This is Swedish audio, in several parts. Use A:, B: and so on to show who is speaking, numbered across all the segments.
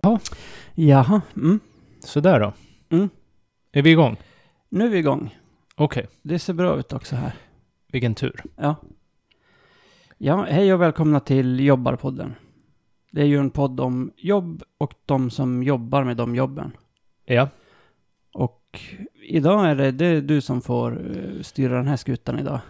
A: Ja.
B: Jaha, mm.
A: Sådär då.
B: Mm.
A: Är vi igång?
B: nu är vi igång.
A: Okej,
B: Det ser bra ut också här.
A: vilken tur.
B: Ja. Ja, hej och välkomna till Jobbarpodden. Det är ju en podd om jobb och de som jobbar med de jobben.
A: Ja,
B: Och idag är det, det är du som får eh, styra den här skutan idag.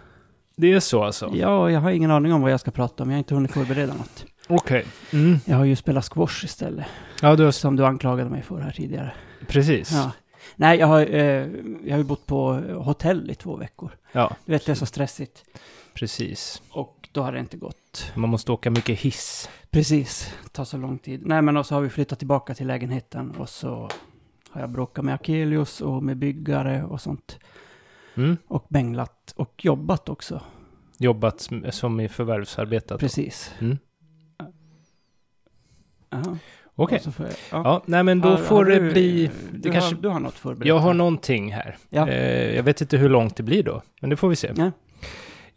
A: det är så alltså.
B: Ja, och jag har ingen aning om vad jag ska prata om. Jag har inte hunnit förbereda något.
A: Okej. Mm.
B: Jag har ju spelat squash istället,
A: Ja, du har...
B: som du anklagade mig för här tidigare.
A: Precis.
B: Ja. Nej, jag har, eh, jag har ju bott på hotell i två veckor.
A: ja,
B: Du vet, det är så stressigt.
A: precis.
B: Och då har det inte gått.
A: Man måste åka mycket hiss.
B: Precis, det tar så lång tid. Nej men och så har vi flyttat tillbaka till lägenheten och så har jag bråkat med Akelius och med byggare och sånt.
A: Mm.
B: Och bänglat och jobbat också.
A: Jobbat som- som i förvärvsarbetat.
B: Precis.
A: Mm.
B: Jaha.
A: Okej.
B: Och så får jag- Ja.
A: Ja, nej men då
B: Har-
A: får
B: har
A: det
B: du-
A: bli...
B: Du,
A: Det kanske...
B: har, du har något förberett?
A: Jag har
B: här.
A: någonting här.
B: Ja.
A: Eh, jag vet inte hur långt det blir då, men det får vi se.
B: Ja.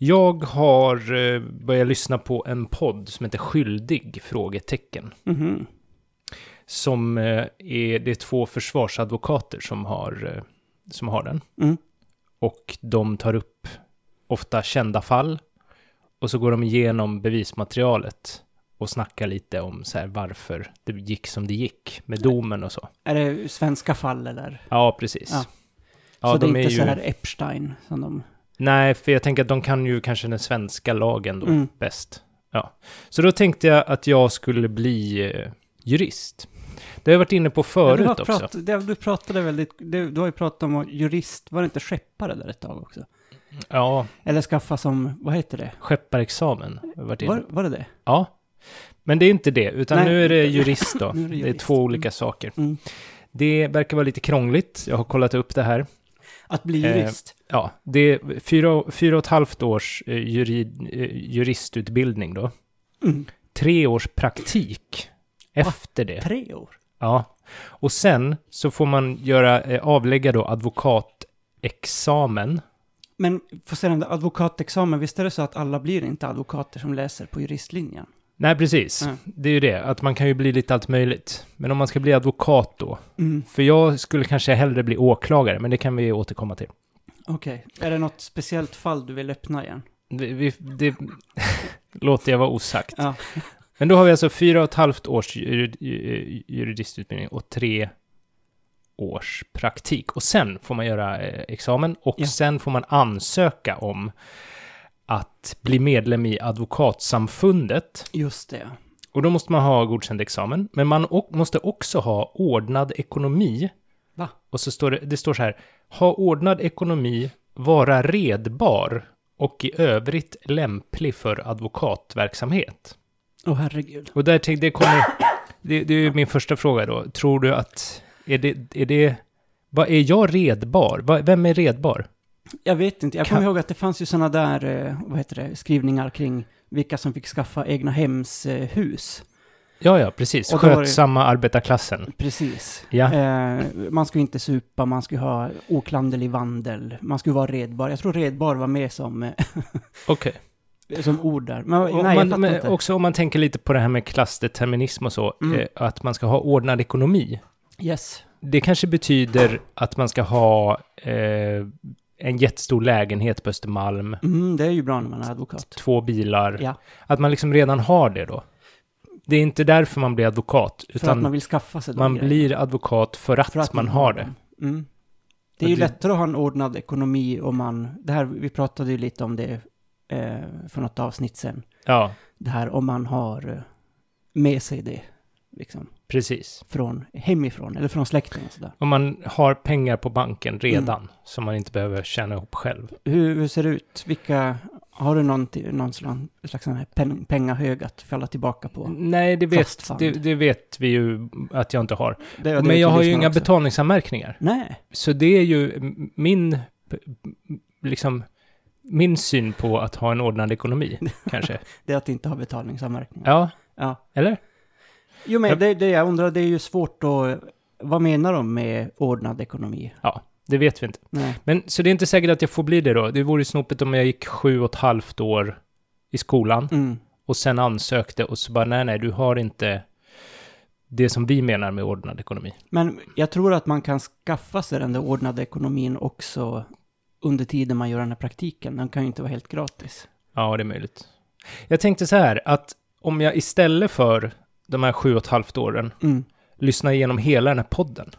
A: Jag har eh, börjat lyssna på en podd som heter Skyldig? Frågetecken.
B: Mhm.
A: Som eh, är, det är två försvarsadvokater som har, eh, som har den.
B: Mm.
A: Och de tar upp ofta kända fall. Och så går de igenom bevismaterialet. Och snackar lite om så här varför det gick som det gick med domen och så.
B: Är det svenska fall eller?
A: Ja, precis.
B: Ja.
A: Ja,
B: så det är
A: de
B: inte
A: ju-
B: så här Epstein som de...
A: Nej, för jag tänker att de kan ju kanske den svenska lagen då
B: Mm.
A: bäst. Ja. Så då tänkte jag att jag skulle bli eh, jurist. Det har jag varit inne på förut
B: Ja, du, har
A: också.
B: prat, det, du pratade väldigt... Du, du har ju pratat om jurist, var det inte skeppare där ett tag också?
A: Ja,
B: Eller skaffa som, vad heter det?
A: skepparexamen har jag varit inne
B: Var, var det det?
A: Ja. Men det är inte det, utan
B: Nej.
A: nu är det jurist då.
B: Nu är det
A: det, är
B: jurist.
A: två olika saker.
B: Mm.
A: Det verkar vara lite krångligt, jag har kollat upp det här.
B: Att bli
A: Eh,
B: jurist?
A: Ja, det är fyra, fyra och ett halvt års eh, jurid, eh, juristutbildning då.
B: Mm.
A: Tre års praktik efter det.
B: Tre år?
A: Ja, och sen så får man göra, eh, avlägga då advokatexamen.
B: Men för se den där advokatexamen, visst är det så att alla blir inte advokater som läser på juristlinjen?
A: Nej, precis.
B: Mm.
A: Det är ju det, att man kan ju bli lite allt möjligt. Men om man ska bli advokat då?
B: Mm.
A: För jag skulle kanske hellre bli åklagare, men det kan vi återkomma till.
B: Okej, är det något speciellt fall du vill öppna igen?
A: Vi, vi, det låter jag vara osagt.
B: Ja.
A: Men då har vi alltså fyra och ett halvt års jurid, ju- juridistutbildning och tre års praktik. Och sen får man göra eh, examen och
B: Ja.
A: sen får man ansöka om att bli medlem i Advokatsamfundet.
B: Just det.
A: Och då måste man ha godkänd examen. Men man o- måste också ha ordnad ekonomi.
B: Va?
A: Och så står det, det står så här, ha ordnad ekonomi, vara redbar och i övrigt lämplig för advokatverksamhet.
B: Åh herregud.
A: Och där tänkte det kommer, det, det är ju min första fråga då. Tror du att, är det, är det, vad är jag redbar? Vad- Vem är redbar?
B: Jag vet inte, jag
A: Kan-
B: kommer ihåg att det fanns ju sådana där, eh, vad heter det, skrivningar kring vilka som fick skaffa egna hemshus.
A: Ja, ja, precis.
B: Och då var det-
A: Skötsamma arbetarklassen.
B: Precis.
A: Ja.
B: Eh, man skulle inte supa, man skulle ha oklanderlig vandel, man skulle vara redbar. Jag tror redbar var med som, eh,
A: Okej.
B: som ord där. Men, nej,
A: Och
B: jag
A: man-
B: fattar
A: men
B: inte.
A: Också om man tänker lite på det här med klassdeterminism och så,
B: Mm.
A: eh, att man ska ha ordnad ekonomi.
B: Yes.
A: Det kanske betyder att man ska ha eh, en jättestor lägenhet på Östermalm,
B: Mm, det är ju bra när man är advokat.
A: två bilar.
B: Ja.
A: Att man liksom redan har det då. Det är inte därför man blir advokat,
B: För att
A: utan
B: man vill skaffa sig de
A: Man
B: grejerna.
A: blir advokat för att,
B: För
A: man har det.
B: dem. Mm. Det är
A: Men
B: ju
A: det-
B: lättare att ha en ordnad ekonomi om man, det här, vi pratade ju lite om det eh, för något avsnitt sen.
A: Ja,
B: Det här om man har eh, med sig det, liksom,
A: precis.
B: från hemifrån eller från släkten och sådär.
A: Om man har pengar på
B: Mm.
A: banken redan som man inte behöver tjäna ihop själv.
B: Hur, hur ser det ut? Vilka, har du någon, ti- någon slags, slags sån här pen, pengahög att falla tillbaka på?
A: Nej, det
B: Fast
A: vet,
B: fan.
A: det, det vet vi ju att jag inte har.
B: Det- det
A: Men
B: vet
A: jag har ju
B: lyssnarna
A: inga
B: också.
A: betalningsanmärkningar.
B: Nej,
A: Så det är ju m- min, p- m- liksom, min syn på att ha en ordnad ekonomi, kanske.
B: det är att inte ha betalningsanmärkningar.
A: Ja,
B: Ja.
A: eller?
B: Jo, men
A: Jag-
B: det, det jag undrar, det är ju svårt att... Vad menar de med ordnad ekonomi?
A: Ja, det vet vi inte.
B: Nej.
A: Men så det är inte säkert att jag får bli det då. Det vore ju snopet om jag gick sju och ett halvt år i skolan.
B: Mm.
A: och sen ansökte och så bara nej, nej, du har inte det som vi menar med ordnad ekonomi.
B: Men jag tror att man kan skaffa sig den där ordnade ekonomin också under tiden man gör den här praktiken. Den kan ju inte vara helt gratis.
A: Ja, det är möjligt. Jag tänkte så här, att om jag istället för de här sju och ett halvt åren
B: Mm.
A: lyssnar igenom hela den här podden,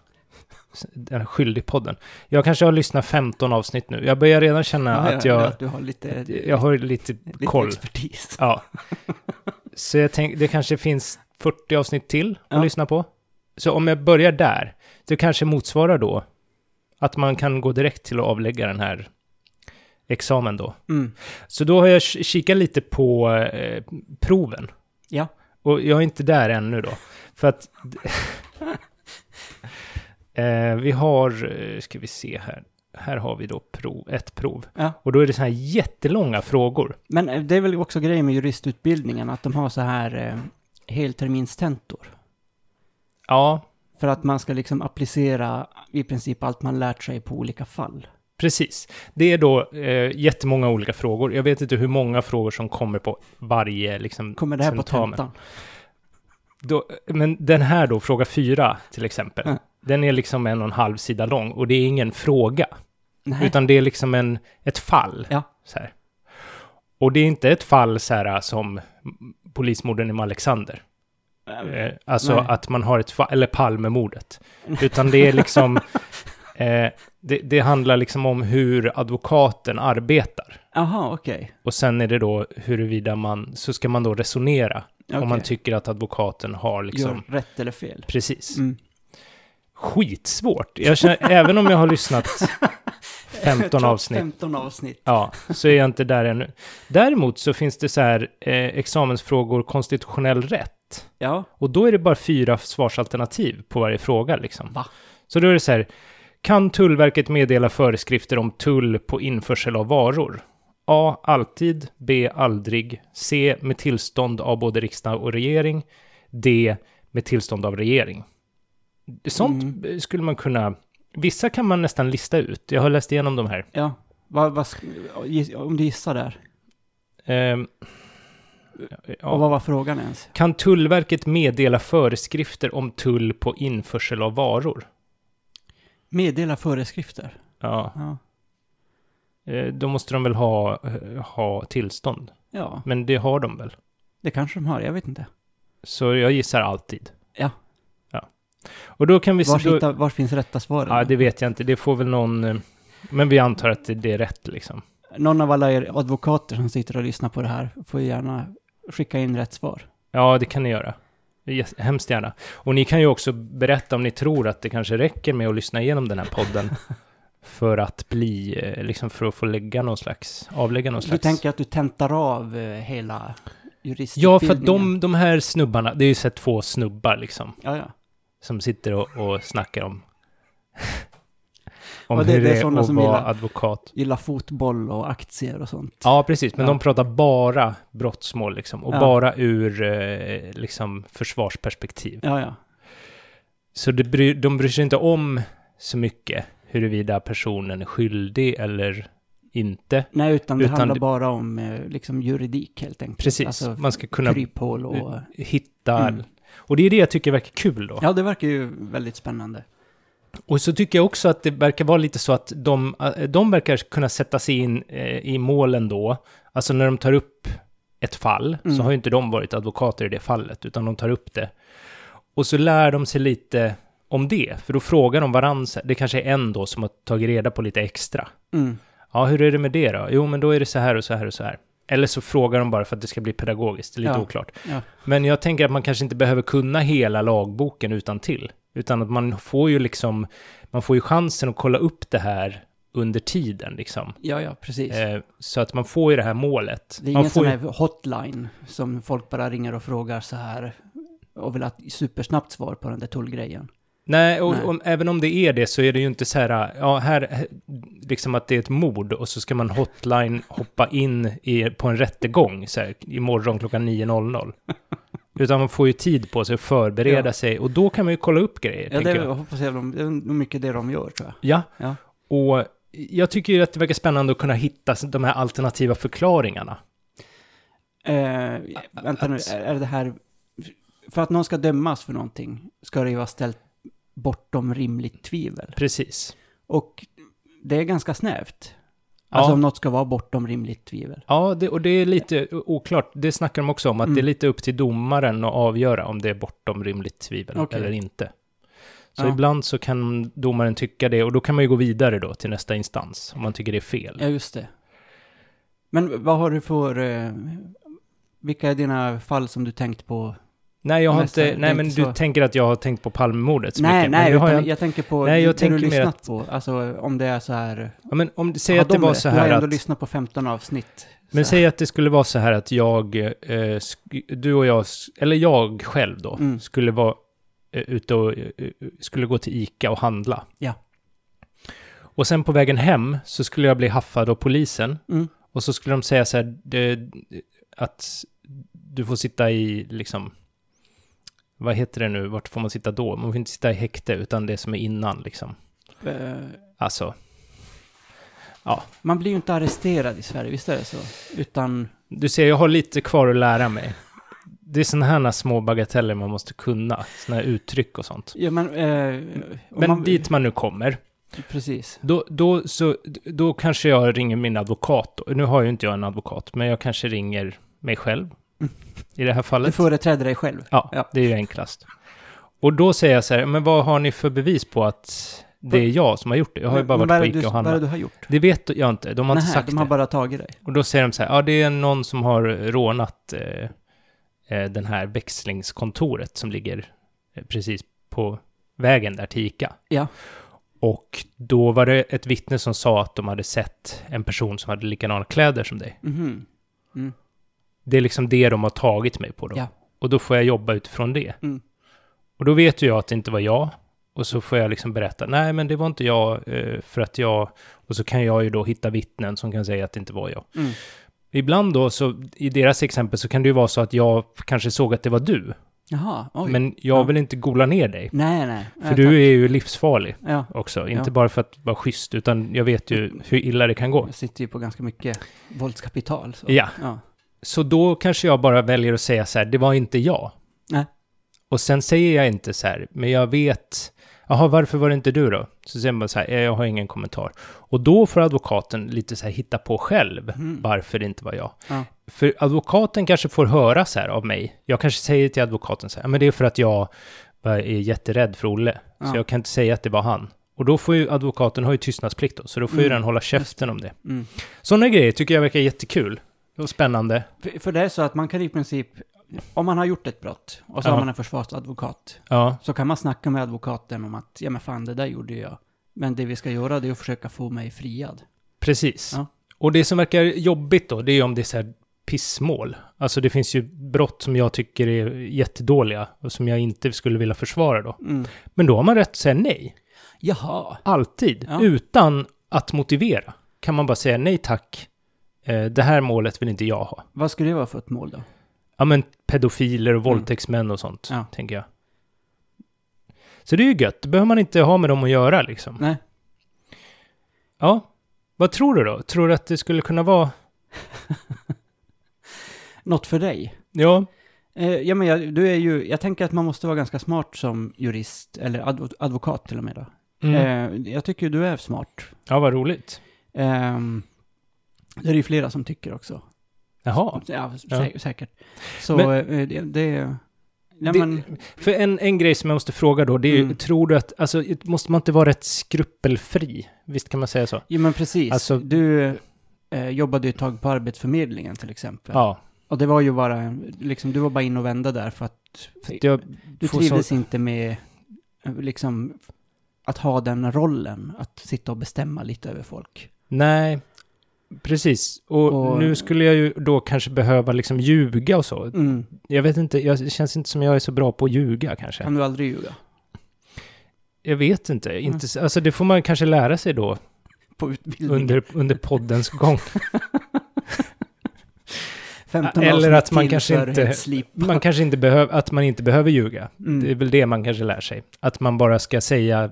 A: den här skyldig podden. Jag kanske har lyssnat 15 avsnitt nu. Jag börjar redan känna
B: Ja,
A: att jag,
B: att du har lite,
A: jag har lite,
B: lite
A: koll.
B: expertis.
A: Ja. Så jag tänk, det kanske finns 40 avsnitt till att
B: Ja.
A: lyssna på. Så om jag börjar där, det kanske motsvarar då att man kan gå direkt till att avlägga den här examen då.
B: Mm.
A: Så då har jag k- kikat lite på eh, proven.
B: Ja.
A: Och jag är inte där ännu då. För att... eh, vi har, eh, ska vi se här. Här har vi då prov, ett prov.
B: Ja.
A: Och då är det så här jättelånga frågor.
B: Men eh, det är väl också grejen med juristutbildningen, att de har så här eh, helterminstentor.
A: Ja,
B: För att man ska liksom applicera i princip allt man lärt sig på olika fall.
A: Precis. Det är då eh, jättemånga olika frågor. Jag vet inte hur många frågor som kommer på varje liksom,
B: Kommer det här på
A: tentamen.
B: tentan?
A: Då, men den här då, fråga fyra till exempel.
B: Mm.
A: Den är liksom en och en halv sida lång och det är ingen fråga,
B: Nej.
A: utan det är liksom en, ett fall.
B: Ja.
A: Så här. Och det är inte ett fall så här, som polismorden i Alexander.
B: Eh,
A: Eh, alltså
B: Nej.
A: att man har ett fall, eller Palmemordet. Utan det är liksom, eh, det, det handlar liksom om hur advokaten arbetar.
B: Jaha, okej.
A: Och sen är det då huruvida man, så ska man då resonera
B: Okay.
A: om man tycker att advokaten har liksom,
B: Gör rätt eller fel.
A: precis.
B: Mm.
A: Skitsvårt. Jag känner, även om jag har lyssnat 15
B: Trots
A: avsnitt,
B: 15 avsnitt.
A: ja, så är jag inte där ännu. Däremot så finns det så här eh, examensfrågor konstitutionell rätt.
B: Ja.
A: Och då är det bara fyra svarsalternativ på varje fråga liksom.
B: Va?
A: Så då är det så här, kan Tullverket meddela föreskrifter om tull på införsel av varor? A. Alltid. B. Aldrig. C. Med tillstånd av både riksdag och regering. D. Med tillstånd av regering. Sånt skulle man kunna... Vissa kan man nästan lista ut. Jag har läst igenom de här.
B: Ja. Vad- vad sk- giss- om du gissar där.
A: Ehm,
B: Och
A: ja.
B: vad var frågan ens?
A: Kan Tullverket meddela föreskrifter om tull på införsel av varor?
B: Meddela föreskrifter.
A: Ja.
B: Ja.
A: Eh, Då måste de väl ha, eh, ha tillstånd.
B: ja,
A: Men det har de väl?
B: det kanske de har. Jag vet inte.
A: Så jag gissar alltid.
B: Ja.
A: ja. Och då kan vi...
B: Var,
A: då,
B: hittar, var finns rätta svaren?
A: ja, det vet jag inte. Det får väl någon... eh, Men vi antar att det- det är rätt liksom.
B: Någon av alla er advokater som sitter och lyssnar på det här får gärna skicka in rätt svar.
A: Ja, det kan ni göra. Yes, hemskt gärna. Och ni kan ju också berätta om ni tror att det kanske räcker med att lyssna igenom den här podden. för att bli, eh, liksom för att få lägga någon slags, avlägga någon
B: Du
A: slags...
B: tänker att du tentar av eh, hela juristutbildningen?
A: ja, för att de, de här snubbarna, det är ju så här två snubbar liksom.
B: Ja, ja.
A: som sitter och, och snackar om, om
B: Och det-
A: hur
B: det är
A: det är
B: sådana
A: att
B: som
A: vara
B: gillar-
A: advokat.
B: Gillar fotboll och aktier och sånt.
A: Ja, precis. Men
B: Ja.
A: de pratar bara brottsmål liksom, och
B: Ja.
A: bara ur eh, liksom, försvarsperspektiv.
B: Ja, ja.
A: Så det bry, de bryr sig inte om så mycket huruvida personen är skyldig eller inte.
B: Nej, utan det
A: Utan
B: handlar
A: det-
B: bara om eh, liksom juridik helt enkelt.
A: Precis,
B: Alltså,
A: man ska kunna
B: kryphål och...
A: hitta...
B: Mm.
A: Och det är det jag tycker verkar kul då.
B: Ja, det verkar ju väldigt spännande.
A: Och så tycker jag också att det verkar vara lite så att de, eh, de verkar kunna sätta sig in eh, i målen då. Alltså när de tar upp ett fall
B: Mm.
A: så har ju inte de varit advokater i det fallet, utan de tar upp det. Och så lär de sig lite om det, för då frågar de varandra. Det kanske är en då som har tagit reda på lite extra.
B: Mm.
A: Ja, hur är det med det då? Jo, men då är det så här och så här och så här. Eller så frågar de bara för att det ska bli pedagogiskt, det är lite
B: Ja.
A: oklart.
B: Ja.
A: Men jag tänker att man kanske inte behöver kunna hela lagboken utan till. Utan att man får ju liksom, man får ju chansen att kolla upp det här under tiden liksom.
B: ja, ja, precis.
A: Eh, så att man får ju det här målet.
B: det är
A: man
B: ingen
A: får
B: sån
A: ju-
B: här hotline som folk bara ringer och frågar så här och vill ha ett supersnabbt svar på den där tullgrejen.
A: Nej, och,
B: Nej.
A: Om, även om det är det så är det ju inte så här, ja, här, här- liksom att det är ett mord och så ska man hotline hoppa in i, på en rättegång så här, imorgon klockan 9.00. Utan man får ju tid på sig att förbereda
B: Ja.
A: sig och då kan man ju kolla upp grejer,
B: Ja, det
A: tänker
B: är,
A: jag.
B: jag hoppas jag de, det är nog mycket det de gör, tror jag.
A: Ja.
B: Ja.
A: Och jag tycker ju att det verkar spännande att kunna hitta de här alternativa förklaringarna.
B: Eh, vänta nu,
A: att-
B: är är det här för att någon ska dömas för någonting ska det ju vara ställt bortom rimligt tvivel.
A: Precis.
B: Och det är ganska snävt.
A: Ja.
B: Alltså om något ska vara bortom rimligt tvivel.
A: Ja, det, och det är lite oklart. Det snackar de också om, att
B: Mm.
A: det är lite upp till domaren att avgöra om det är bortom rimligt tvivel
B: Okej.
A: eller inte. Så
B: Ja.
A: ibland så kan domaren tycka det och då kan man ju gå vidare då till nästa instans om man tycker det är fel.
B: Ja, just det. Men vad har du för... Eh, vilka är dina fall som du tänkt på?
A: Nej, jag har
B: Nästa,
A: inte,
B: det är
A: nej men du
B: inte så.
A: tänker att jag har tänkt på Palmemordet så
B: nej,
A: mycket. men
B: nej,
A: det har
B: utan
A: jag,
B: jag, tänker på
A: Nej, jag
B: det du
A: tänker mer
B: lyssnat på. Alltså om det är så här...
A: ja, men om, säg
B: har
A: att det
B: de
A: var
B: rätt?
A: så
B: Du har
A: här
B: ändå
A: att...
B: lyssnat på 15 avsnitt.
A: Men
B: så
A: säg att det skulle vara så här att jag, eh, sk- du och jag, s- eller jag själv då,
B: Mm.
A: skulle vara eh, ute och eh, eh, skulle gå till Ica och handla.
B: Ja.
A: Och sen på vägen hem så skulle jag bli haffad av polisen
B: Mm.
A: och så skulle de säga så här det, att du får sitta i liksom, vad heter det nu, vart får man sitta då? Man får inte sitta i häkte utan det som är innan liksom.
B: Eh,
A: Alltså,
B: Man blir ju inte arresterad i Sverige, visst är det så? Utan...
A: Du ser, jag har lite kvar att lära mig. Det är sådana här små bagateller man måste kunna, sådana här uttryck och sånt.
B: Ja, men... Eh, om
A: Men
B: man,
A: dit man nu kommer,
B: Precis.
A: då, då, så, då kanske jag ringer min advokat. då. Nu har ju inte jag en advokat, men jag kanske ringer mig själv i det här
B: Du
A: fallet.
B: företräder dig själv.
A: Ja,
B: Mm. Ja.
A: det är ju enklast. Och då säger jag så här, men vad har ni för bevis på att det är jag som har gjort det? Jag har ju
B: Men-
A: bara
B: men vad är
A: varit
B: det
A: på Ica
B: du-
A: och
B: Vad är
A: handlat.
B: det du har gjort?
A: Det vet jag inte, de har inte
B: Nähä,
A: sagt
B: de har
A: det.
B: bara tagit dig.
A: Och då säger de så här, ja det är någon som har rånat eh, eh, den här växlingskontoret som ligger eh, precis på vägen där till Ica.
B: Ja.
A: Och då var det ett vittne som sa att de hade sett en person som hade likadana kläder som dig.
B: Mhm.
A: Det är liksom det de har tagit mig på då.
B: Ja.
A: Och då får jag jobba utifrån det.
B: Mm.
A: Och då vet ju jag att det inte var jag. Och så får jag liksom berätta, nej men det var inte jag eh, för att jag... Och så kan jag ju då hitta vittnen som kan säga att det inte var jag.
B: Mm.
A: Ibland då, så i deras exempel, så kan det ju vara så att jag kanske såg att det var du.
B: Jaha, oj.
A: Men jag
B: Ja.
A: vill inte gola ner dig.
B: nej, nej.
A: För du är ju livsfarlig
B: Ja,
A: också. Inte
B: Ja. Mm.
A: bara för att vara schysst, utan jag vet ju hur illa det kan gå.
B: jag sitter ju på ganska mycket våldskapital. Så.
A: Ja,
B: Ja.
A: så då kanske jag bara väljer att säga så här, det var inte jag.
B: Nej.
A: Och sen säger jag inte så här, men jag vet, jaha, varför var det inte du då? Så säger man så här, "Eh, jag har ingen kommentar. Och då får advokaten lite så här hitta på själv
B: Mm.
A: varför det inte var jag.
B: Ja.
A: För advokaten kanske får höra så här av mig. Jag kanske säger till advokaten så här, "Ja, men det är för att jag var- är jätterädd för Olle.
B: Ja.
A: Så jag kan inte säga att det var han. Och då får ju advokaten, har ju tystnadsplikt då, så då får ju
B: Mm.
A: den hålla käften om det.
B: Mm.
A: Sådana grejer tycker jag verkar jättekul. Och spännande.
B: För, för det är så att man kan i princip, om man har gjort ett brott och så
A: Ja.
B: har man en försvarsadvokat,
A: Ja.
B: så kan man snacka med advokaten om att ja men fan det där gjorde jag. Men det vi ska göra det är att försöka få mig friad.
A: Precis.
B: Ja.
A: Och det som verkar jobbigt då, det är ju om det är så här pissmål. Alltså det finns ju brott som jag tycker är jättedåliga och som jag inte skulle vilja försvara då.
B: Mm.
A: Men då har man rätt att säga nej.
B: Jaha.
A: Alltid.
B: Ja.
A: Utan att motivera. Kan man bara säga nej tack. Eh, det här målet vill inte jag ha.
B: Vad skulle det vara för ett mål då?
A: Ja men pedofiler och våldtäktsmän och sånt,
B: Mm. Ja.
A: tänker jag. Så det är ju gött. Det behöver man inte ha med dem att göra liksom.
B: Nej.
A: Ja. Vad tror du då? Tror du att det skulle kunna vara...
B: Något för dig?
A: Ja.
B: Eh, ja, men jag, du är ju, jag tänker att man måste vara ganska smart som jurist, eller advo, advokat till och med då.
A: Mm.
B: Eh, jag tycker ju du är smart.
A: Ja, vad roligt.
B: Ehm, det är ju flera som tycker också.
A: Jaha.
B: Ja, sä
A: Ja.
B: säkert. Så
A: Men-
B: eh, det, det, ja,
A: Det-
B: men,
A: För en, en grej som jag måste fråga då, det är ju,
B: Mm.
A: tror du att, alltså, måste man inte vara rätt skrupelfri? Visst kan man säga så?
B: ja, men precis.
A: Alltså-
B: du eh, jobbade ju ett tag på Arbetsförmedlingen till exempel.
A: Ja.
B: Och det var ju bara, en- liksom, du var bara in och vända där för att
A: Jag
B: du
A: får
B: trivdes
A: så-
B: inte med, eh, liksom, att ha den rollen, att sitta och bestämma lite över folk.
A: Nej, precis. Och,
B: Och-
A: nu skulle jag ju då kanske behöva liksom ljuga och så.
B: Mm.
A: Jag vet inte, jag, det känns inte som jag är så bra på att ljuga kanske.
B: Kan du aldrig ljuga?
A: Jag vet inte.
B: Mm.
A: inte s- Alltså det får man kanske lära sig då
B: På utbildningen?
A: under, under poddens gång.
B: 15
A: eller
B: avsnitt
A: att man
B: till
A: kanske
B: för
A: inte-
B: att slipa.
A: Man kanske inte behöver, att man inte behöver ljuga.
B: Mm.
A: Det är väl det man kanske lär sig. Att man bara ska säga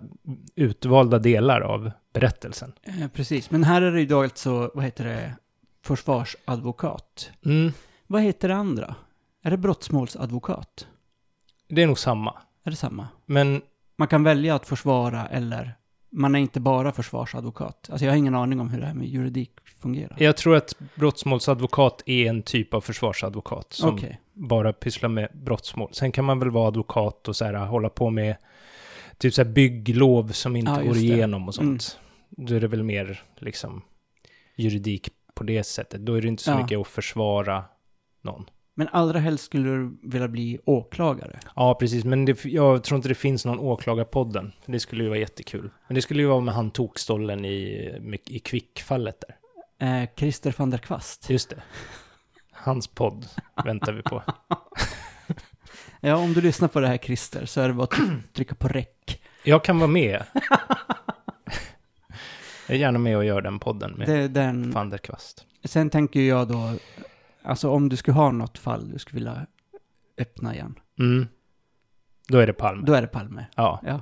A: utvalda delar av berättelsen.
B: Eh, precis, men här är det ju då alltså, vad heter det, försvarsadvokat.
A: Mm.
B: Vad heter det andra? Är det brottsmålsadvokat?
A: Det är nog samma.
B: Är det samma?
A: Men
B: Man kan välja att försvara eller man är inte bara försvarsadvokat. Alltså jag har ingen aning om hur det här med juridik fungerar.
A: jag tror att brottsmålsadvokat är en typ av försvarsadvokat som
B: Okej.
A: bara pysslar med brottsmål. Sen kan man väl vara advokat och så här, hålla på med typ så här bygglov som inte
B: Ja, just
A: går
B: det. Mm.
A: igenom och sånt. Då är det väl mer liksom juridik på det sättet. Då är det inte så
B: Ja.
A: mycket att försvara någon.
B: Men allra helst skulle du vilja bli åklagare.
A: Ja, precis. Men det, jag tror inte det finns någon åklagarpodden. För det skulle ju vara jättekul. Men det skulle ju vara med han tokstollen i, i Kvick-fallet där.
B: Eh, Christer van der Kvast.
A: Just det. Hans podd väntar vi på.
B: Ja, om du lyssnar på det här Christer så är det bara att trycka på räck.
A: Jag kan vara med. Jag är gärna med och gör den podden med
B: Det är den...
A: van der Kvast.
B: Sen tänker jag då, alltså om du skulle ha något fall du skulle vilja öppna igen,
A: Mm. Då är det Palme.
B: då är det Palme.
A: Ja,
B: Ja.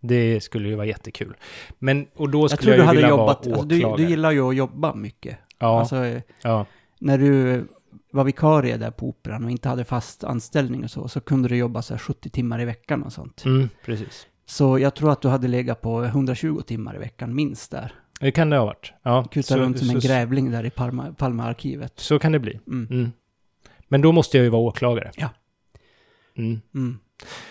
A: det skulle ju vara jättekul. Men, och då
B: Jag
A: skulle
B: tror
A: jag,
B: du
A: ju
B: hade
A: vilja
B: jobbat,
A: vara
B: alltså,
A: åklagare.
B: du, du gillar ju att jobba mycket.
A: ja,
B: Alltså, eh,
A: ja,
B: när du var vikarie där på operan och inte hade fast anställning och så, så kunde du jobba så här 70 timmar i veckan och sånt.
A: mm, precis.
B: Så jag tror att du hade legat på 120 timmar i veckan minst där.
A: Det kan det ha varit. Ja,
B: Kuta runt som en
A: så,
B: grävling där i Palma, Palmaarkivet.
A: så kan det bli.
B: Mm.
A: Mm. Men då måste jag ju vara åklagare.
B: Ja.
A: Mm.
B: Mm.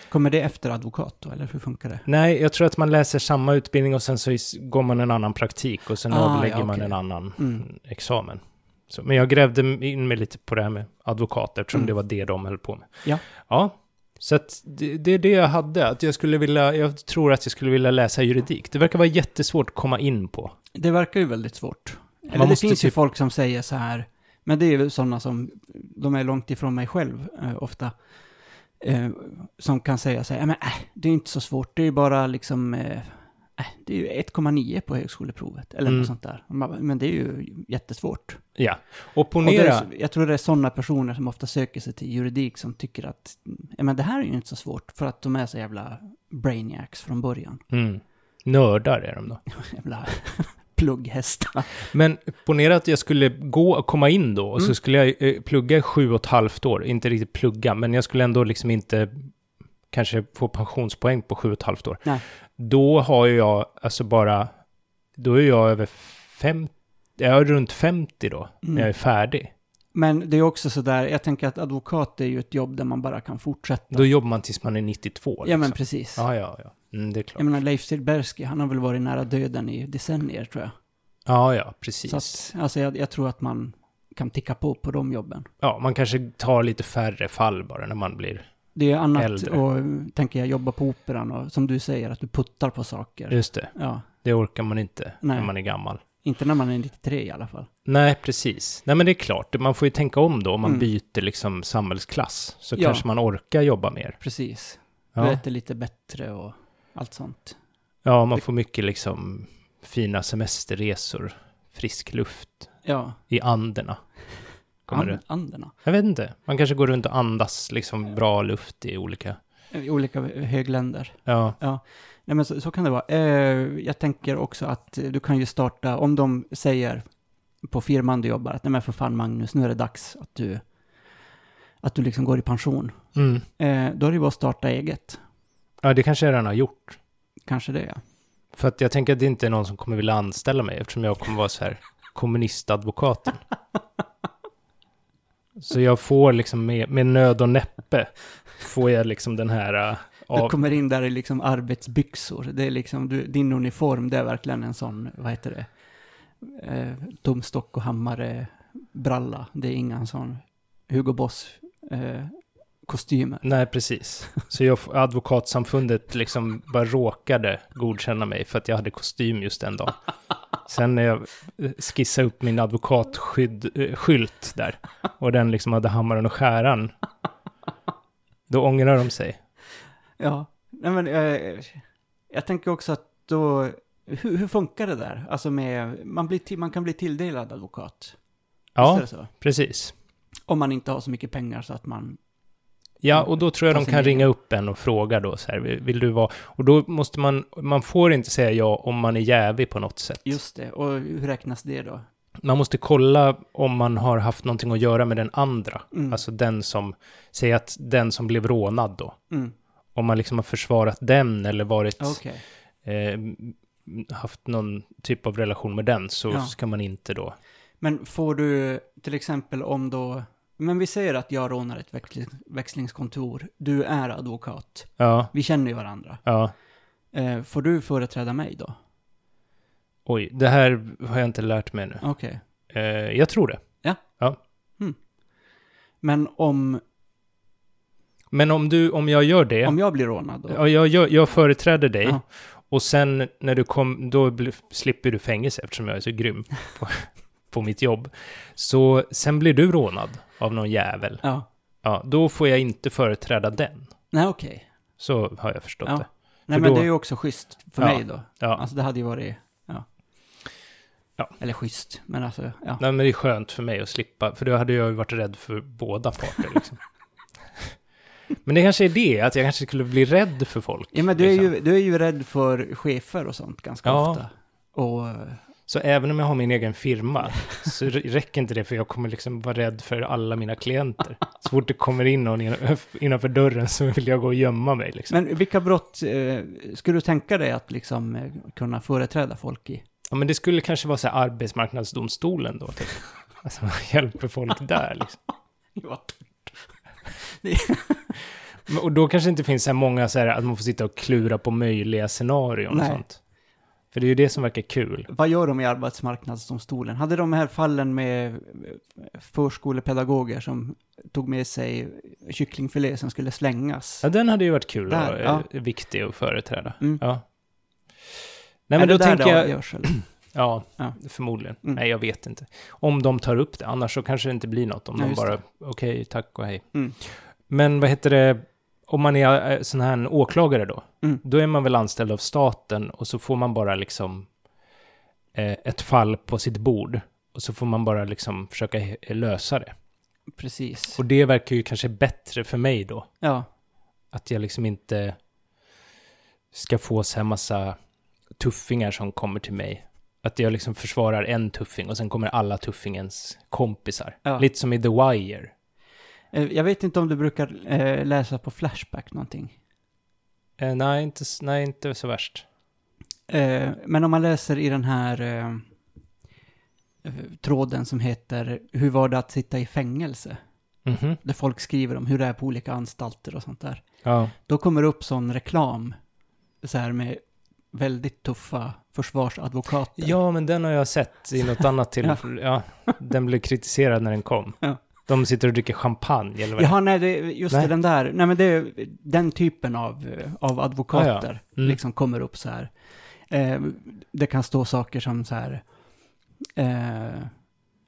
B: Kommer det efter advokat då, eller hur funkar det?
A: Nej, jag tror att man läser samma utbildning och sen så is- går man en annan praktik och sen
B: Ah, ja,
A: avlägger man
B: okej.
A: en annan
B: Mm.
A: examen. Så, men jag grävde in mig lite på det här med advokater eftersom
B: Mm.
A: det var det de höll på med.
B: Ja.
A: Ja, så att det, det är det jag hade, att jag skulle vilja, jag tror att jag skulle vilja läsa juridik. Det verkar vara jättesvårt att komma in på.
B: Det verkar ju väldigt svårt. Eller det
A: måste
B: finns ju
A: typ-
B: folk som säger så här, men det är ju sådana som, de är långt ifrån mig själv eh, ofta, eh, som kan säga så här, "Ja, men äh, det är ju inte så svårt, det är ju bara liksom, eh, äh, det är ju 1,9 på högskoleprovet, eller
A: Mm.
B: något sånt där. Och man bara, Men det är ju jättesvårt.
A: Ja,
B: Och det
A: opponera.
B: är, jag tror det är sådana personer som ofta söker sig till juridik som tycker att, ja men det här är ju inte så svårt, för att de är så jävla brainiacs från början.
A: Mm. Nördar är de då.
B: Jävla plugghästar.
A: Men ponera att jag skulle gå och komma in då, och så
B: Mm.
A: skulle jag eh, plugga i sju och ett halvt år. Inte riktigt plugga, men jag skulle ändå liksom inte kanske få pensionspoäng på sju och ett halvt år.
B: Nej.
A: Då har ju jag alltså bara, då är jag över 50, jag är runt 50 då,
B: Mm.
A: när jag är färdig.
B: Men det är också sådär, jag tänker att advokat är ju ett jobb där man bara kan fortsätta.
A: Då jobbar man tills man är 92.
B: Ja
A: liksom.
B: men precis.
A: ja, ja, ja. Mm, det är klart.
B: Jag menar Leif Silbersky, han har väl varit nära döden i decennier tror jag.
A: Ja, ja, precis.
B: Så att, alltså jag, jag tror att man kan ticka på på de jobben.
A: Ja, man kanske tar lite färre fall bara när man blir...
B: Det är ju annat
A: Äldre.
B: och mm, tänker jag jobba på operan och som du säger att du puttar på saker.
A: Just det,
B: Ja,
A: det orkar man inte när
B: Nej.
A: man är gammal.
B: inte när man är 93 i alla fall.
A: Nej, precis. Nej, men det är klart, man får ju tänka om då om man
B: Mm.
A: byter liksom samhällsklass. Så
B: Ja.
A: kanske man orkar jobba mer.
B: Precis. Du
A: Ja,
B: äter lite bättre och allt sånt.
A: ja man får mycket liksom fina semesterresor, frisk luft
B: Ja,
A: i anderna. Kommer
B: and,
A: det?
B: anderna.
A: Jag vet inte, man kanske går runt och andas liksom bra luft i olika...
B: I olika högländer.
A: Ja,
B: Nej men så, så kan det vara. Eh, jag tänker också att eh, du kan ju starta, om de säger på firman du jobbar att nej men för fan Magnus, nu är det dags att du, att du liksom går i pension.
A: mm.
B: Eh, då är det ju bara att starta eget.
A: ja det kanske jag redan har gjort.
B: Kanske det ja.
A: För att jag tänker att det inte är någon som kommer vilja anställa mig eftersom jag kommer vara så här kommunistadvokaten. Så jag får liksom med, med nöd och näppe får jag liksom den här äh,
B: Du
A: av...
B: kommer in där i liksom arbetsbyxor. Det är liksom, du, din uniform det är verkligen en sån, vad heter det, eh, tumstock och hammare bralla. Det är inga sån Hugo Boss eh, kostymer.
A: Nej, precis. Så jag, f- advokatsamfundet liksom bara råkade godkänna mig för att jag hade kostym just den dagen. Sen när jag eh, skissade upp min advokatskylt där och den liksom hade hammaren och skäran, då ångrar de sig.
B: Ja, nej men eh, jag tänker också att då, hur, hur funkar det där? Alltså med, man, blir till, man kan bli tilldelad advokat. Visst är
A: Ja,
B: det så?
A: precis.
B: Om man inte har så mycket pengar så att man,
A: Ja,
B: Mm.
A: och då tror jag
B: Ta
A: de
B: sin
A: kan
B: egen.
A: ringa upp en och fråga då så här, vill du vara... Och då måste man, man får inte säga ja om man är jävig på något sätt.
B: just det, och hur räknas det då?
A: man måste kolla om man har haft någonting att göra med den andra.
B: Mm.
A: Alltså den som, säg att den som blev rånad då.
B: Mm.
A: Om man liksom har försvarat den eller varit,
B: Okej.
A: eh, m- haft någon typ av relation med den så
B: Ja.
A: ska man inte då.
B: Men får du till exempel om då, men vi säger att jag rånar ett växling, växlingskontor, du är advokat,
A: Ja,
B: vi känner ju varandra.
A: ja.
B: Eh, får du företräda mig då?
A: Oj, det här har jag inte lärt mig nu.
B: Okej.
A: Eh, jag tror det.
B: Men om,
A: Men om du, om jag gör det,
B: om jag blir rånad då?
A: ja, jag, jag, jag företräder dig
B: Ja.
A: och sen när du kom, då bli, slipper du fängelse eftersom jag är så grym på, på mitt jobb. Så sen blir du rånad av någon jävel.
B: Ja.
A: Ja, då får jag inte företräda den.
B: Nej, okej.
A: Så har jag förstått
B: Ja.
A: det.
B: Nej,
A: För
B: men
A: då-
B: det är ju också schysst för
A: Ja.
B: mig då.
A: Ja.
B: Alltså det hade ju varit, ja.
A: Ja.
B: Eller schysst, men alltså, ja.
A: Nej, men det är skönt för mig att slippa, för då hade jag ju varit rädd för båda parter. Liksom. men det kanske är det, att jag kanske skulle bli rädd för folk.
B: Ja, men du är,
A: liksom.
B: ju, du är ju rädd för chefer och sånt ganska
A: Ja.
B: ofta. Och, eh,
A: Så även om jag har min egen firma så r- räcker inte det för jag kommer liksom vara rädd för alla mina klienter. Så fort det kommer in någon innan- innanför dörren så vill jag gå och gömma mig liksom.
B: men vilka brott eh, skulle du tänka dig att liksom eh, kunna företräda folk i?
A: Ja, men det skulle kanske vara så här arbetsmarknadsdomstolen då. Typ. Alltså man hjälper folk där liksom.
B: Ja.
A: Men- Och då kanske det inte finns så här många så här att man får sitta och klura på möjliga scenarion och
B: Nej.
A: sånt. För det är ju det som verkar kul.
B: Vad gör de i arbetsmarknadsdomstolen? Hade de här fallen med eh, förskolepedagoger som tog med sig kycklingfilé som skulle slängas?
A: Ja, den hade ju varit kul
B: Där,
A: och ja. viktig att företräda.
B: Mm.
A: Ja. Nej, men då
B: där
A: tänker
B: det
A: jag...
B: avgörs, eller?
A: Ja,
B: Ja.
A: förmodligen.
B: Mm.
A: Nej, jag vet inte. Om de tar upp det, annars så kanske det inte blir något. Om
B: Nej,
A: de
B: just
A: bara,
B: det.
A: okej, tack och hej.
B: Mm.
A: Men vad heter det, om man är eh, sån här en åklagare då?
B: Mm.
A: Då är man väl anställd av staten och så får man bara liksom eh, ett fall på sitt bord. Och så får man bara liksom försöka he- lösa det.
B: Precis.
A: Och det verkar ju kanske bättre för mig då.
B: Ja,
A: Att jag liksom inte ska få så här massa tuffingar som kommer till mig. Att jag liksom försvarar en tuffing och sen kommer alla tuffingens kompisar.
B: Ja.
A: Lite som i The Wire.
B: Eh, Jag vet inte om du brukar eh, läsa på Flashback någonting.
A: Eh, nej, inte, s- nej, inte så värst.
B: Eh, Men om man läser i den här eh, eh, tråden som heter Hur var det att sitta i fängelse?
A: Mhm.
B: Där folk skriver om hur det är på olika anstalter och sånt där.
A: Ja.
B: Då kommer det upp sån reklam, så här med väldigt tuffa försvarsadvokater.
A: ja, men den har jag sett i något annat till. ja. den blev kritiserad när den kom.
B: Ja.
A: De sitter och dricker champagne eller vad det
B: Jaha, nej, det, just
A: Nej.
B: Det, den där. Nej, men det är den typen av, eh, av advokater
A: Mm.
B: liksom kommer upp så här. Eh, det kan stå saker som så här. Eh,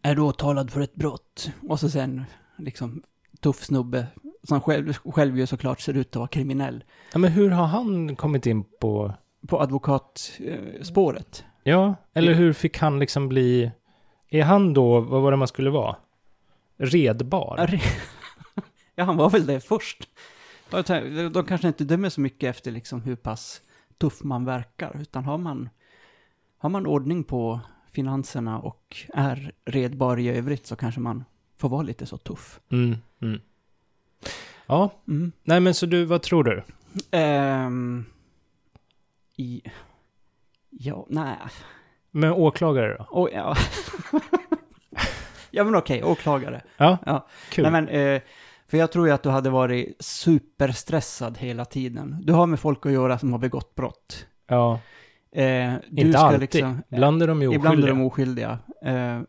B: är du åtalad för ett brott? Och så sen liksom tuff snubbe som själv, själv ju såklart ser ut att vara kriminell
A: ja, men hur har han kommit in på...
B: på advokatspåret. Eh, spåret.
A: Ja, eller
B: Ja.
A: hur fick han liksom bli... Är han då, vad var det man skulle vara? Redbar?
B: Ja, re- ja, han var väl det först. Jag tänker, De kanske inte dömer så mycket efter liksom hur pass tuff man verkar, utan har man, har man ordning på finanserna och är redbar i övrigt så kanske man får vara lite så tuff.
A: Mm, mm. Ja,
B: Mm.
A: nej men så du, vad tror du?
B: Ehm, i, ja, nej.
A: Men åklagare då?
B: Oj, ja. ja, men okej, åklagare.
A: Ja,
B: Ja.
A: kul.
B: Nej, men, eh, för jag tror ju att du hade varit superstressad hela tiden. Du har med folk att göra som har begått brott.
A: ja,
B: Eh, du
A: inte
B: ska
A: alltid.
B: liksom-
A: Ibland är de ju
B: eh,
A: oskyldiga.
B: ibland är de oskyldiga. Eh,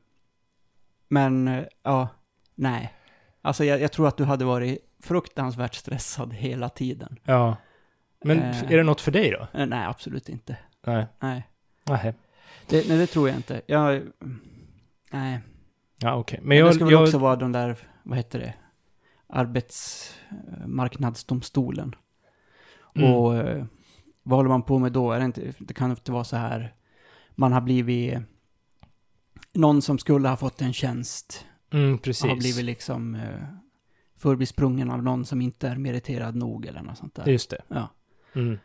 B: men, eh, ja, nej. Alltså jag, jag tror att du hade varit fruktansvärt stressad hela tiden.
A: Ja. Men
B: Eh.
A: f- är det något för dig då?
B: Eh, nej, absolut inte.
A: Nej.
B: Nej,
A: Nej.
B: det, nej, det tror jag inte. Jag, nej.
A: Ja, okej. Men
B: Men det
A: jag...
B: ska väl
A: jag
B: också vara de där, vad heter det, arbetsmarknadsdomstolen.
A: Mm.
B: Och eh, vad håller man på med då? Är det, inte, det kan inte vara så här, man har blivit, någon som skulle ha fått en tjänst
A: mm, precis.
B: har blivit liksom eh, förbisprungen av någon som inte är meriterad nog eller något sånt där.
A: Just det.
B: Ja.
A: Mm.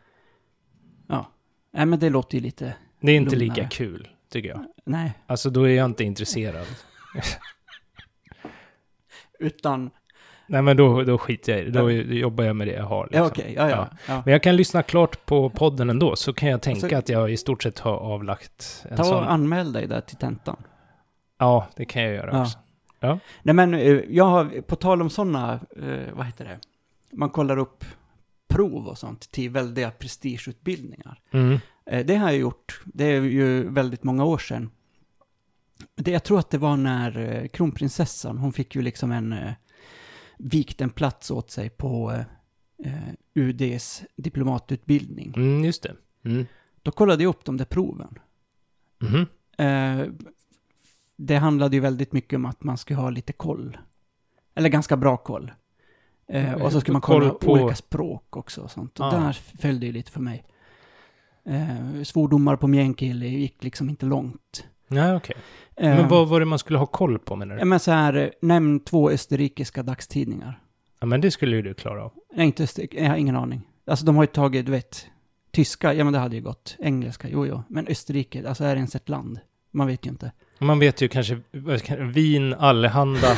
B: Nej men det låter ju lite,
A: Det är inte
B: Lugnare.
A: lika kul, tycker jag.
B: Nej,
A: Alltså då är jag inte intresserad.
B: utan...
A: Nej men då, då skiter jag i det. Då jobbar jag med det jag har.
B: Ja,
A: Liksom.
B: okej. ja, ja. ja.
A: Men jag kan lyssna klart på podden ändå, så kan jag tänka
B: Alltså-
A: att jag i stort sett har avlagt en
B: Ta
A: sån.
B: och anmäl dig där till tentan.
A: Ja, det kan jag göra
B: Ja.
A: också.
B: Nej men, eh, jag har, på tal om sådana, eh, vad heter det, man kollar upp prov och sånt till väldiga prestigeutbildningar.
A: Mm.
B: Eh, Det har jag gjort. Det är ju väldigt många år sedan. Det, jag tror att det var när eh, kronprinsessan, hon fick ju liksom en eh, vikt en plats åt sig på eh, eh, UDs diplomatutbildning.
A: Mm, just det. Mm.
B: Då kollade jag upp de där proven.
A: Mhm.
B: Eh, det handlade ju väldigt mycket om att man skulle ha lite koll. Eller ganska bra koll. Eh, och så skulle man kolla
A: Koll på-
B: olika språk också och sånt. Och
A: Ah.
B: där följde ju lite för mig. Eh, svordomar på meänkieli gick liksom inte långt.
A: Nej, okej.
B: Eh,
A: Men vad var det man skulle ha koll på menar
B: ja,
A: du?
B: men så här, eh, nämn två österrikiska dagstidningar.
A: Ja, men det skulle ju du klara av.
B: Nej, inte öster, jag har ingen aning. Alltså de har ju tagit, du vet, tyska, ja men det hade ju gått. Engelska, jo jo. Men Österrike, alltså är det ens ett land? Man vet ju inte.
A: Man vet ju kanske vad ska- Wien, Allehanda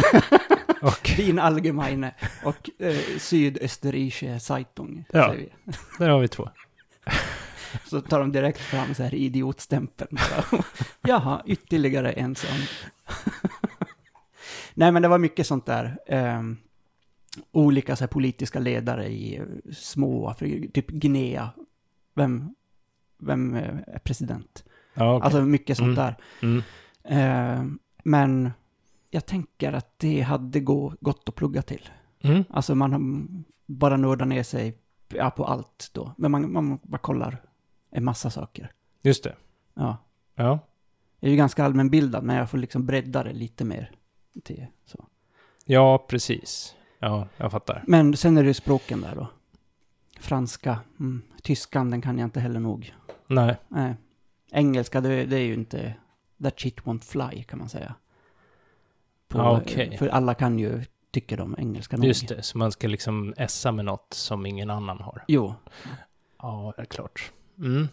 A: och
B: Wien Allgemeine och eh, Sydösterreichische Zeitung.
A: Ja.
B: Säger vi.
A: där har vi två.
B: Så tar de direkt fram så här idiotstämpeln. bara. Jaha, ytterligare en sån. Nej, men det var mycket sånt där. ehm, olika så här, politiska ledare i eh, små, Afri- typ Guinea. Vem, vem eh, är president?
A: Ja, okej.
B: Alltså mycket sånt
A: Mm.
B: där.
A: mm.
B: Ehm, men jag tänker att det hade gå, gått att plugga till.
A: Mm.
B: Alltså man har- bara nördar ner sig ja, på allt då. Men man, man bara kollar en massa saker.
A: Just det.
B: Ja.
A: Ja.
B: Jag är ju ganska allmänbildad, men jag får liksom bredda det lite mer. Till, så.
A: ja, precis. Ja, jag fattar.
B: Men sen är det ju språken där då. Franska, mm. tyskan, den kan jag inte heller nog.
A: Nej.
B: Nej. Engelska, det, det är ju inte... That shit won't fly, kan man säga.
A: Ja, Ah, okej.
B: För alla kan ju tycka de engelska nog.
A: Just det, så man ska liksom essa med något som ingen annan har.
B: Jo.
A: Ja, det är klart. Mm.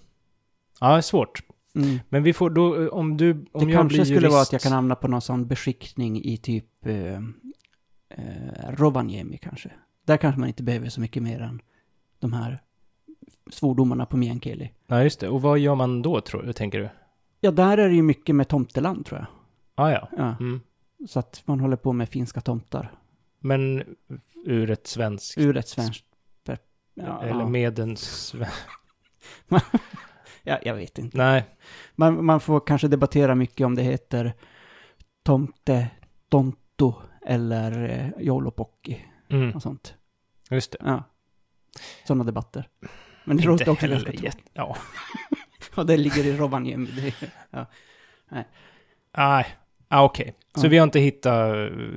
A: Ja, det är svårt.
B: Mm.
A: Men vi får då, eh, om du, om
B: det
A: jag blir
B: kanske skulle
A: jurist,
B: vara att jag kan hamna på någon sån beskickning i typ eh, eh, Rovaniemi kanske. Där kanske man inte behöver så mycket mer än de här svordomarna på meänkieli.
A: Ja, just det. Och vad gör man då, tror du, tänker du?
B: Ja, där är det ju mycket med tomteland tror jag.
A: Ah, ja.
B: Ja,
A: Mm.
B: Så att man håller på med finska tomtar.
A: Men ur ett svenskt,
B: Ur ett svenskt... per- Ja,
A: eller
B: ja.
A: med en svensk...
B: ja, jag vet inte.
A: Nej,
B: Man, man får kanske debattera mycket om det heter tomte, tonto eller eh, jolopokki
A: mm.
B: och sånt.
A: just det.
B: Ja. Sådana debatter. Men det
A: typ. Inte
B: låter också
A: heller
B: ganska tråkigt.
A: jätte- Ja.
B: Och det ligger i Rovaniemi. Det är-
A: Nej, ah, okej. Så
B: Ja.
A: vi har inte hittat...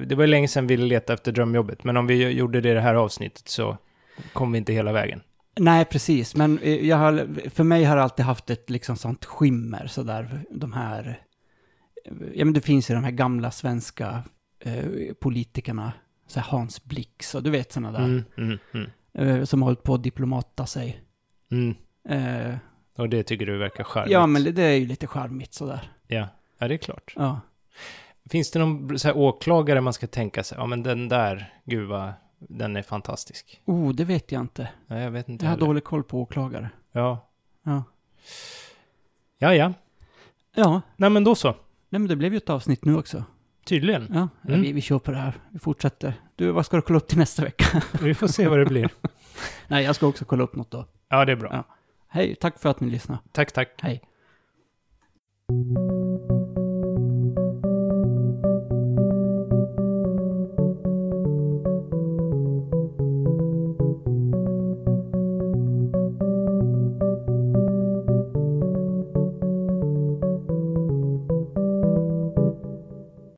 A: Det var ju länge sedan vi letade efter drömjobbet, men om vi gjorde det i det här avsnittet så kom vi inte hela vägen.
B: Nej, precis. Men eh, jag har, för mig har jag alltid haft ett liksom sånt skimmer sådär. De här... Ja, men det finns ju de här gamla svenska eh, politikerna. Så här Hans Blix och du vet sådana där.
A: Mm, mm, mm,
B: Eh, som har hållit på att diplomata sig.
A: mm.
B: Eh,
A: Och det tycker du verkar charmigt?
B: ja, men det, det är ju lite charmigt sådär.
A: Ja. ja, det är klart.
B: Ja.
A: Finns det någon så här åklagare man ska tänka sig, ja men den där, gud vad, den är fantastisk.
B: Oh, det vet jag inte.
A: Ja, jag vet inte
B: Jag har
A: heller.
B: dålig koll på åklagare.
A: Ja.
B: Ja.
A: Ja, ja.
B: Ja,
A: Nej, men då så.
B: nej, men det blev ju ett avsnitt nu också.
A: Tydligen.
B: Ja,
A: Mm.
B: vi, vi kör på det här. Vi fortsätter. Du, vad ska du kolla upp till nästa vecka?
A: Vi får se vad det blir.
B: Nej, jag ska också kolla upp något då.
A: Ja, det är bra.
B: Ja. Hej, tack för att ni lyssnade.
A: Tack, tack.
B: Hej.